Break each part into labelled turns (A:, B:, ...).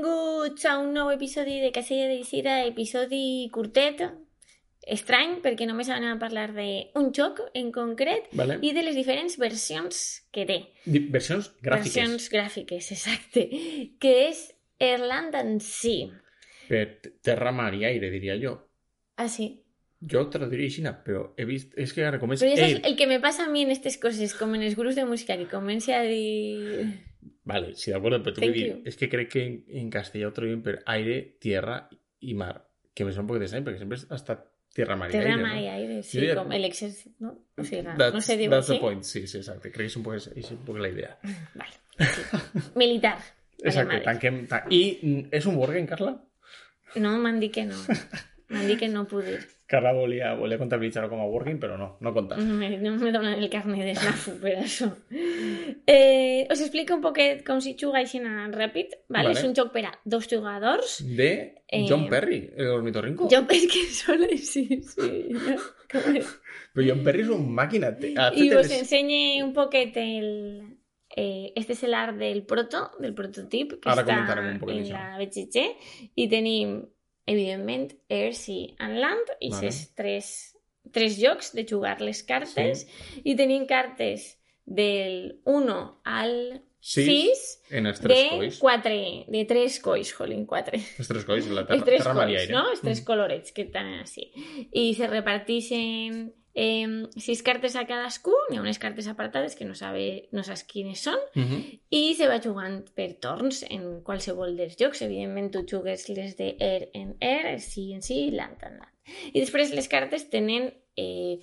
A: benvinguts a un nou episodi de Casella de Visita, episodi curtet, estrany, perquè només anem a parlar d'un joc en concret
B: Vale.
A: i de les diferents versions que té.
B: Di- Versions gràfiques.
A: Versions gràfiques, exacte. Que és Irlanda en si.
B: Per terra, mar i aire, diria jo.
A: Ah, sí.
B: Jo traduiria aixina, però he vist... És que ara com és...
A: Però ja saps
B: Air.
A: el que me passa a mi en aquestes coses, com en els grups de música, que comenci a dir...
B: Vale, sí, d'acord, però t'ho
A: Thank
B: vull dir.
A: you.
B: És que crec que en, en castellà ho traduïm per aire, tierra i mar. Que em sembla un poc d'estrany, perquè sempre ha estat terra, mar i
A: Terra,
B: aire,
A: mar i
B: no?
A: aire, sí,
B: Jo ja-
A: com l'exèrcit, no? O sigui, no
B: That's,
A: sé dir
B: that's
A: sí?
B: the point, sí, sí, exacte. Crec que és un poc, és un poc la idea.
A: Vale. Sí. Militar.
B: Exacte,
A: Vale,
B: tanquem... Tan... I mm, és un Borgen, Carla?
A: No, m'han dit que no. M'han dit que no puc dir.
B: Carla volia, volia comptabilitzar-ho com a Borgen, però no, no compta.
A: No me, no me donen el carnet de snafu per això. Eh, us explico un poquet com s'hi juga així en ràpid. Vale?
B: Vale.
A: És un joc per a dos jugadors.
B: De John
A: Eh,
B: Perry, l'ornitorrinco.
A: Jo penso que sol així, sí. No? Com és?
B: Però John Perry és un màquina. Té, ha
A: I
B: fet
A: us
B: les-
A: ensenye un poquet el... Eh, este és el art del proto, del prototip, que
B: Ara
A: està
B: comentarem un poquet
A: en
B: això.
A: la BGG. I tenim, evidentment, Air, Sea and Land, i
B: Vale.
A: vale. tres, tres jocs de jugar les cartes. Sí. I tenim cartes del 1 al
B: Sis,
A: 6
B: En els tres
A: de,
B: colls.
A: quatre, de tres cois, jolín, quatre.
B: Els tres colls, la terra,
A: Els tres
B: terra mar i
A: colors,
B: aire.
A: no? Els tres colorets que estan així. I se reparteixen eh, sis cartes a cadascú, n'hi ha unes cartes apartades que no, sabe, no saps quines són,
B: Mhm.
A: i se va jugant per torns en qualsevol dels jocs. Evidentment, tu jugues les de air en air, sí en sí, land en land. I després les cartes tenen eh,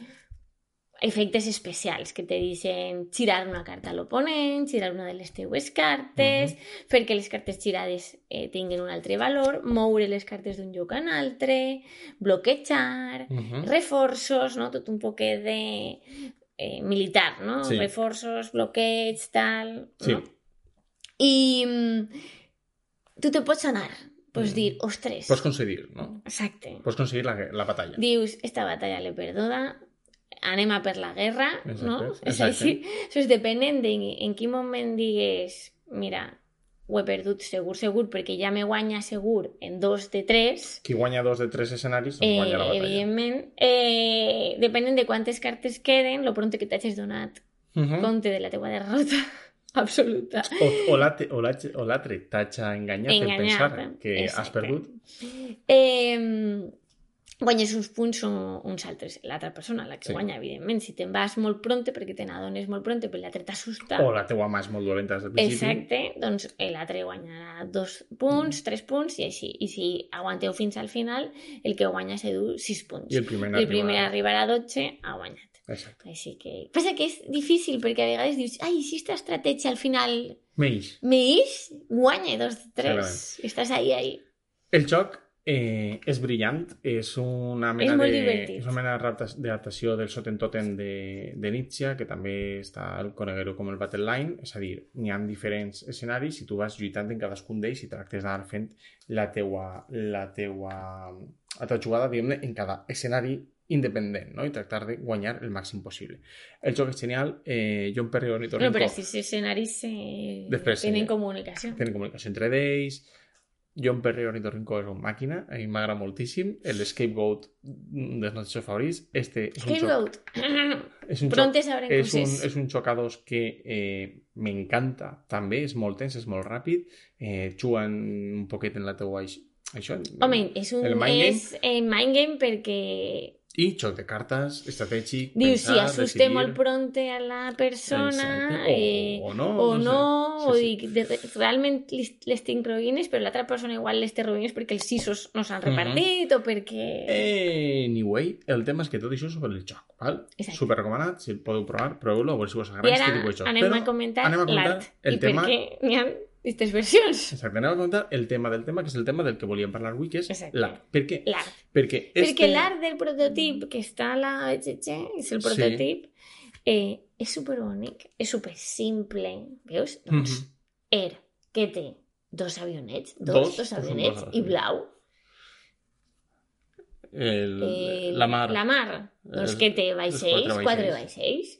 A: efectes especials que te dicen girar una carta a l'oponent, girar una de les teues cartes, fer que les cartes girades eh, tinguin un altre valor, moure les cartes d'un lloc a un altre, bloquejar,
B: Mhm.
A: reforços, no? Tot un poquet de eh, militar, no?
B: Sí.
A: Reforços, bloqueig, tal...
B: Sí.
A: No? I mm, tu te pots anar, pots
B: Mm.
A: dir, ostres...
B: Pots concedir, no?
A: Exacte.
B: Pots concedir la, la batalla.
A: Dius, esta batalla l'he perduda, anem a per la guerra,
B: Exacte,
A: no? És
B: exacte.
A: així. Això és depenent de en quin moment digues, mira, ho he perdut segur, segur, perquè ja me guanya segur en dos de tres,
B: Qui guanya dos de tres escenaris doncs
A: Eh,
B: guanya la batalla.
A: evidentment, eh, depenent de quantes cartes queden, lo pronto que t'hagis donat
B: Mhm.
A: compte de la teua derrota absoluta.
B: O, o l'altre- o l'altre- o l'altre t'ha enganyat en
A: Enganyat, eh?
B: pensar que
A: exacte.
B: has perdut.
A: Eh, guanyes uns punts o uns altres. L'altra persona, la que
B: Sí.
A: sí. guanya, evidentment. Si te'n vas molt pronte perquè te n'adones molt pronte, però l'altre t'assusta.
B: O la teua mà és molt dolenta des del principi.
A: Exacte, doncs l'altre guanyarà dos punts, tres punts i així. I si aguanteu fins al final, el que guanya se du sis punts.
B: I el primer
A: el primer
B: arriba-
A: arribarà a 12 ha guanyat.
B: Exacte.
A: Així que... Passa que és difícil, perquè a vegades dius ai, si esta estratègia al final
B: Menys.
A: m'eix, guanya dos de tres.
B: Clarament.
A: I estàs ahí, ahí.
B: El joc eh, és brillant, és una mena
A: És molt
B: de,
A: divertit.
B: és una mena de rapta- d'adaptació del Sotentoten de, de Nietzsche, que també està el coneguero com el Battle Line, és a dir, n'hi ha diferents escenaris i tu vas lluitant en cadascun d'ells i tractes d'anar fent la teua, la teua, la teua jugada, diguem-ne, en cada escenari independent, no? I tractar de guanyar el màxim possible. El joc és genial, eh, John Perry Ornitorrinco...
A: No, però aquests escenaris eh,
B: Després,
A: tenen
B: eh,
A: comunicació.
B: tenen comunicació entre ells, John Perry Ornitorrinco és una màquina, a mi m'agrada moltíssim, el Scapegoat mm, dels nostres favorits, este és un joc,
A: Scapegoat.
B: és un joc,
A: Pronte sabrem
B: és un,
A: coses.
B: és un joc a dos que eh, m'encanta també, és molt tens, és molt ràpid, eh, juguen un poquet en la teua aix- això,
A: Home, és un
B: El mind game.
A: és, eh, mind game perquè
B: i joc de cartes, estratègic,
A: dius, si
B: pensar,
A: assuste
B: decidir,
A: molt pronte a la persona,
B: Exacte.
A: eh,
B: o, o no,
A: o
B: sé.
A: no, o
B: Sí, sí.
A: dic, de, re- realment li- les tinc roïnes, però l'altra persona igual les té roïnes perquè els sisos no s'han
B: Mhm.
A: repartit o perquè...
B: Eh, Anyway, el tema és que tot això és sobre el joc, val?
A: Exacte.
B: Super recomanat, si el podeu provar, proveu-lo, a veure si us
A: I
B: agrada
A: ara
B: aquest tipus de joc.
A: anem a comentar
B: anem a comentar
A: l'art
B: el
A: i
B: tema-
A: per què n'hi ha aquestes versions.
B: Exacte, anem a comentar el tema del tema, que és el tema del que volíem parlar avui, que és
A: Exacte.
B: l'art. Per què?
A: L'art.
B: Perquè, este... mm.
A: Perquè l'art del prototip que està a la BGG, és el
B: Sí.
A: prototip, eh, és superbonic, és supersimple. Veus?
B: Mhm.
A: Doncs, er, què té? Dos avionets, dos,
B: Dos,
A: dos,
B: doncs són dos
A: avionets, i
B: avionets.
A: blau.
B: El,
A: Eh,
B: la mar.
A: La mar. Doncs
B: Els-
A: que té
B: els
A: vaixells,
B: quatre
A: quatre
B: vaixells.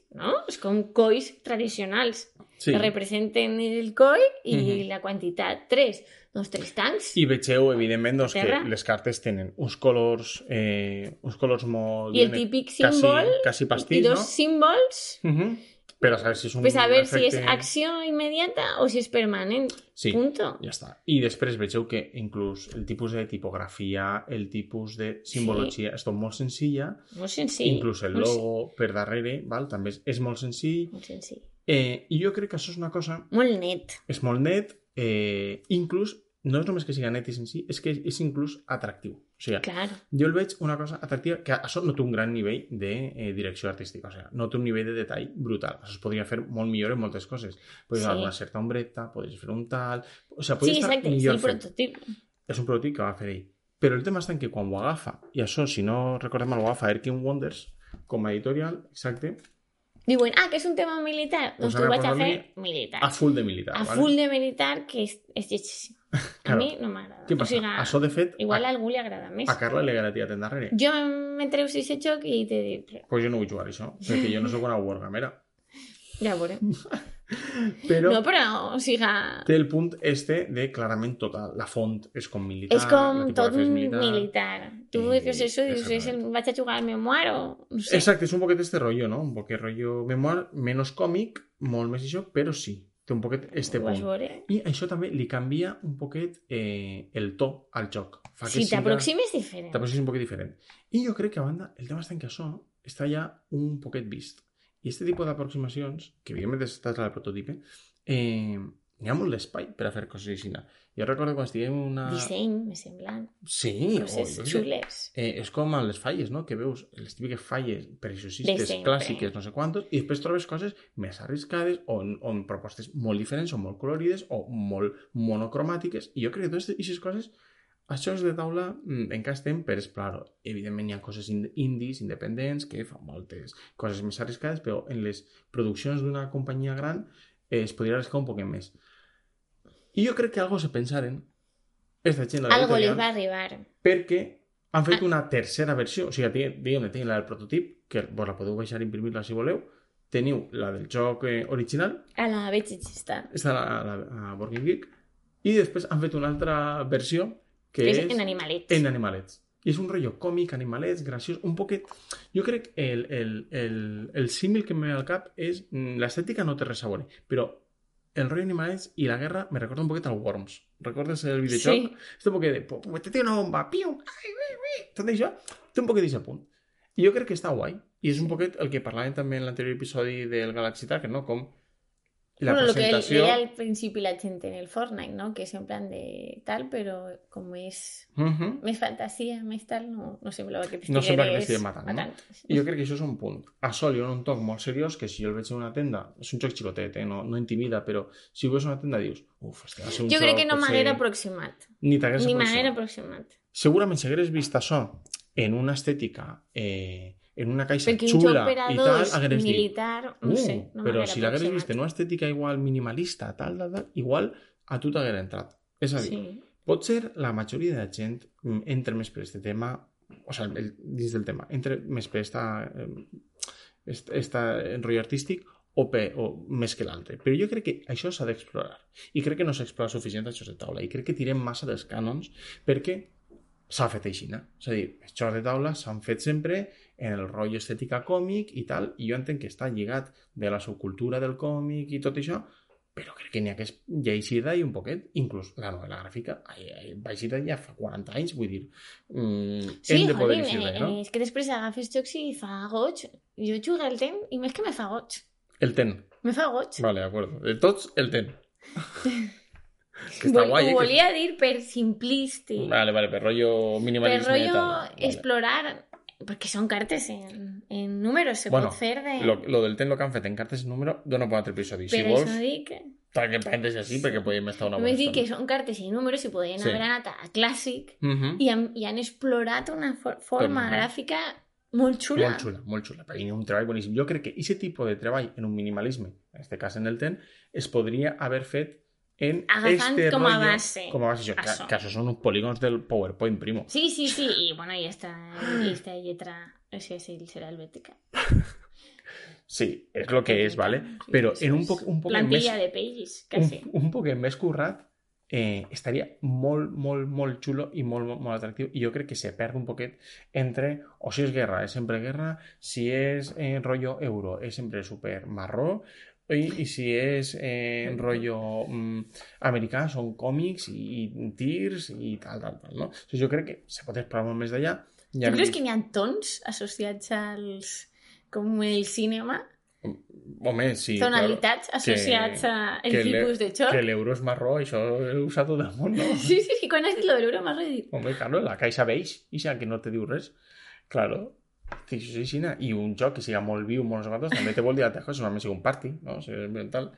A: vaixells, no? És com cois tradicionals.
B: Sí.
A: que representen el COI i
B: Mhm.
A: la quantitat. Tres, doncs tres tancs.
B: I vegeu, evidentment, doncs, que
A: Terra.
B: les cartes tenen uns colors, eh, uns colors molt...
A: I el
B: diguem-ne,
A: típic
B: quasi-
A: símbol,
B: Quasi
A: I
B: pastís,
A: dos
B: no?
A: símbols,
B: Ujú. Pero a saber si es un
A: pues a ver si es
B: efecte-
A: acción inmediata o si es permanente.
B: Sí,
A: Punto.
B: ja està. I després vegeu que inclús el tipus de tipografia, el tipus de simbologia, és tot molt senzilla,
A: Muy sencillo.
B: inclús el
A: molt sen-
B: logo per darrere, val? també és, és molt senzill.
A: Molt senzill.
B: Eh, I jo crec que això és una cosa,
A: Molt net.
B: és molt net, eh, inclús, no és només que siga net i senzill, és que és inclús atractiu. O sigui,
A: Claro.
B: jo el veig una cosa atractiva, que això no té un gran nivell de eh, direcció artística, o sigui, no té un nivell de detall brutal. Això es podria fer molt millor en moltes coses. Podries
A: Sí.
B: sí. una certa ombreta, podries fer un tal... O sigui, podria
A: Sí,
B: estar
A: exacte. És
B: millor
A: el
B: fet.
A: prototipo.
B: És un prototip que va fer ell. Però el tema està en que quan ho agafa, i això, si no recordem mal, ho agafa Erkin Wonders, com a editorial, exacte,
A: Diuen, ah, que és un tema militar.
B: Pues
A: Doncs
B: ara
A: tu vaig a fer
B: posa'm-li
A: militar.
B: a full de militar.
A: A
B: vale?
A: full de militar, que és, és lletjíssim. A
B: Claro.
A: mi no m'agrada.
B: Què passa?
A: O sigui,
B: Això, de fet,
A: igual a
B: a,
A: algú li agrada més.
B: a Carla li garantia ten darrere.
A: Jo m'entreu si se xoc i te dic,
B: Pues jo no vull jugar a això, perquè jo no sóc una wargamera.
A: ja ho veuré.
B: Però...
A: No, però, o sigui,
B: Té el punt este de clarament tota la font és com militar.
A: és com
B: la
A: tot
B: tipografia és
A: militar. militar. Tu
B: Eh,
A: eh, dius això, dius,
B: exactament.
A: és el, vaig a jugar al memoir o... No sé.
B: Exacte, és un poquet este rotllo, no? Un poquet rotllo memoir, menys còmic, molt més això, però sí, té un poquet este
A: Ho vas
B: punt.
A: veure.
B: I això també li canvia un poquet eh, el to al joc. Fa
A: Si
B: siga-
A: t'aproximes, diferent.
B: T'aproximis un poquet diferent. I jo crec que, a banda, el tema està en que això està ja un poquet vist. I este tipus d'aproximacions, que evidentment es tracta del prototipe, eh, n'hi ha molt d'espai per a fer coses així. Jo recordo quan estiguem en una...
A: Disseny, me semblant.
B: Sí,
A: Coses
B: o, jo què sé.
A: xules.
B: Eh, és com a les falles, no? Que veus les típiques falles
A: De
B: preciosistes,
A: sempre.
B: clàssiques, no sé quantos, i després trobes coses més arriscades o en, o en propostes molt diferents o molt colorides o molt monocromàtiques. I jo crec que totes aquestes coses, a jocs de taula, mm, encara estem per explorar-ho. Evidentment hi ha coses ind- indies, independents, que fan moltes coses més arriscades, però en les produccions d'una companyia gran eh, es podria arriscar un poquet més. I jo crec que algo se pensaren, esta gent de
A: Algo
B: l'editorial,
A: les va arribar.
B: perquè han
A: Ah.
B: fet una tercera versió, o sigui, tie- diguem-ne, teniu la del prototip, que vos la podeu baixar i imprimir-la si voleu, teniu la del joc eh, original,
A: A la vegegista.
B: està la, la, a Working Geek, i després han fet una altra versió que,
A: Que és
B: és,
A: en animalets.
B: en animalets. I és un rotllo còmic, animalets, graciós, un poquet... Jo crec que el, el, el, el símil que em ve al cap és... mm, L'estètica no té res a veure, però el rotllo animalets i la guerra me recorda un poquet al Worms. Recordes el videojoc?
A: Sí.
B: Este un poquet de... "Po- po- Te tira una bomba, piu, ai, ui, ui. Tot això té un poquet d'aquest punt. I jo crec que està guai. I és un poquet el que parlàvem també en l'anterior episodi del Galaxy Tracker, no? Com la
A: bueno,
B: presentació...
A: lo que veía al principio la gente en el Fortnite, ¿no? Que es en plan de tal, pero como es,
B: Mhm.
A: me es fantasía, me es tal, no, no semblaba que te
B: No sembla que
A: estigueres
B: t'estiguen matant, no?
A: matant.
B: I jo crec que això és un punt. A Sol hi ha un toc molt seriós que si jo el veig en una tenda, és un joc xicotet, eh? no, no intimida, però si ho veus en una tenda dius, uf, este va ser un
A: Jo
B: joc...
A: crec que no
B: potser
A: m'haguera aproximat.
B: Ni t'hagués
A: Ni
B: aproximat.
A: m'haguera aproximat.
B: Segurament si hagués vist això en una estètica, eh, en una caixa
A: Perquè un
B: xula
A: joc per a
B: i tal,
A: dos,
B: hagués dit,
A: militar,
B: uh,
A: no sé, no
B: però
A: m'haguera
B: si l'hagués
A: aproximat.
B: vist en una estètica igual minimalista, tal, tal, tal, igual a tu t'haguera entrat. És a dir,
A: Sí.
B: Potser la majoria de la gent mm, entra més per este tema, o sigui, el, dins del tema, entra més per esta, eh, est- esta enrotllo artístic o, per, o més que l'altre. Però jo crec que això s'ha d'explorar. I crec que no s'explora suficient a jocs de taula. I crec que tirem massa dels cànons perquè s'ha fet així, no? És a dir, els jocs de taula s'han fet sempre en el rotllo estètica còmic i tal, i jo entenc que està lligat de la subcultura del còmic i tot això, però crec que n'hi ha que és llegida i un poquet, inclús la novel·la gràfica, ai, ai, llegida ja fa 40 anys, vull dir, mm,
A: Sí,
B: hem de poder
A: jolín,
B: llegir
A: eh,
B: res, no?
A: eh, és que després agafes jocs i fa goig. Jo jugo al temps i més que me fa goig.
B: El ten,
A: Me fa goig.
B: vale, d'acord. De tots, el ten. que està
A: Vol-
B: guai,
A: ho
B: eh? Que...
A: volia dir per simplisti.
B: Vale, vale, per rotllo
A: Pero
B: minimalisme
A: rollo
B: i tal. Vale.
A: explorar, porque son cartas en, en números, se
B: Bueno,
A: puede hacer de...
B: Lo, lo del ten lo que han fet en cartes i número dona per un altre episodi. Si
A: Pero
B: vols,
A: eso di que...
B: tanquem parèntesis així perquè podem estar una
A: me
B: bona
A: di que
B: estona.
A: son cartas y números y podían
B: Sí.
A: haber anat a Classic
B: Mhm.
A: y han, y han explorado una for- forma
B: Torna.
A: gráfica muy chula.
B: Molt xula, molt xula. Perquè hi ha un treball boníssim. este Jo crec que aquest tipus de treball en un minimalisme, en aquest cas en el TEN, es podria haver fet en
A: Agafant
B: este
A: com a
B: rotllo-
A: base.
B: Com a base, això, que,
A: Això.
B: que això són uns polígons del PowerPoint, primo.
A: Sí, sí, sí. Y bueno, y esta, y esta letra, o sea, sí, será helvética.
B: Sí, és el que és, ¿vale?
A: Sí,
B: Però
A: eso
B: en un
A: es.
B: poc, un poc més...
A: Plantilla de Pages, casi.
B: un, un poquet més currat eh, estaria molt, molt, molt xulo i molt, molt, molt atractiu i jo crec que se perd un poquet entre o si és guerra, és sempre guerra si és eh, rotllo euro, és sempre super marró i, i si és eh, rotllo mm, americà, són còmics i, i tirs i tal, tal, tal, no? O sigui, jo crec que se pot explorar molt més d'allà.
A: Tu creus que n'hi ha tons associats als... com el cinema?
B: Home, Mm, sí, claro.
A: Tonalitats associats a el
B: que le-
A: tipus de xor?
B: Que l'euro és marró, això ho usa tot el món, no?
A: Sí, sí, sí, quan has dit lo de l'euro m'has dit...
B: Home, claro, la caixa beix, i que no te diu res. Claro. Sí, sí, sí, na. I un joc que siga molt viu, molts gatos, també te vol dir altres coses, només sigui un party, no? O sigui, és tal.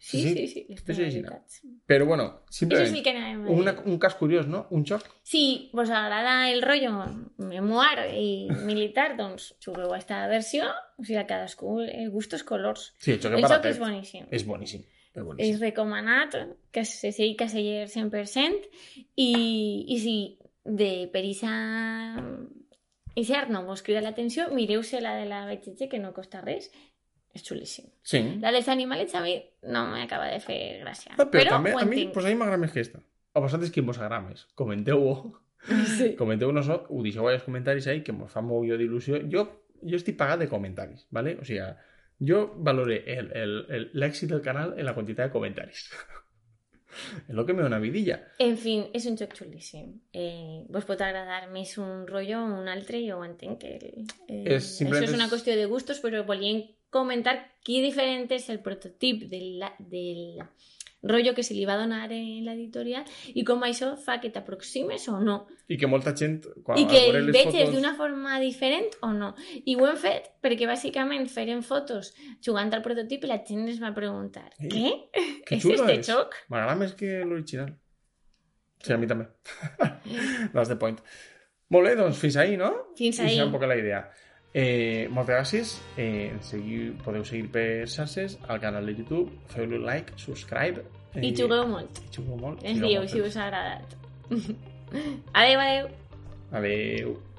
A: Sí,
B: Sí,
A: sí, sí, les
B: sí, sí, sí,
A: tonalitats.
B: Però bueno,
A: Això és el
B: simplement,
A: que anàvem a dir.
B: una, un cas curiós, no? Un joc.
A: Si vos agrada pues el rollo memoir i militar, doncs jugueu a esta versió, o sigui, a cadascú eh, gustos, colors.
B: Sí, el joc
A: El
B: en
A: joc és
B: baratet.
A: boníssim.
B: És boníssim. És
A: És
B: boníssim.
A: recomanat que se sigui caseller 100% i, i si de mm, perisa i cert, no vos crida l'atenció, mireu-se la de la Betxetxe, que no costa res. És xulíssim.
B: Sí.
A: La dels animals a mi no m'acaba de fer gràcia.
B: Ah, però, també,
A: ho
B: a mi,
A: entenc.
B: pues a mi m'agrada més que esta. A vosaltres, quin vos agrada més? Comenteu-ho.
A: Sí.
B: Comenteu-nos, ho deixeu als comentaris ahí, que mos fa mogolló d'il·lusió. Jo, jo estic pagat de comentaris, ¿vale? O sigui, jo valoré el- el- el- l'èxit del canal en la quantitat de comentaris. és lo que me dona vidilla.
A: En fin, és un joc xulíssim. Eh, vos pot agradar més un rotllo o un altre, jo ho entenc que... El, eh,
B: És simplement
A: Això és una
B: és-
A: qüestió de gustos, però volien comentar que diferent és el prototip del, del rotllo que se li va donar en l'editorial i com això fa que t'aproximes o no
B: I que molta gent, quan
A: i que
B: al veure
A: el
B: les
A: veges
B: fotos-
A: d'una forma diferent o no. I ho hem fet perquè bàsicament feren fotos jugant al prototip i la gent es va preguntar
B: Sí.
A: què?
B: Que
A: és
B: xulo
A: este
B: és.
A: joc?
B: M'agrada més que l'original. Sí, a mi també. That's the point. Molt bé, doncs fins ahir, no?
A: Fins
B: I
A: ahir.
B: serà un poc la idea. Eh, moltes gràcies. Eh, ens seguiu, podeu seguir per xarxes, al canal de YouTube, feu-li like, subscribe. eh,
A: I jugueu molt.
B: I jugueu molt.
A: Ens dieu
B: jugueu molt.
A: si us ha agradat. adeu, adeu.
B: Adéu.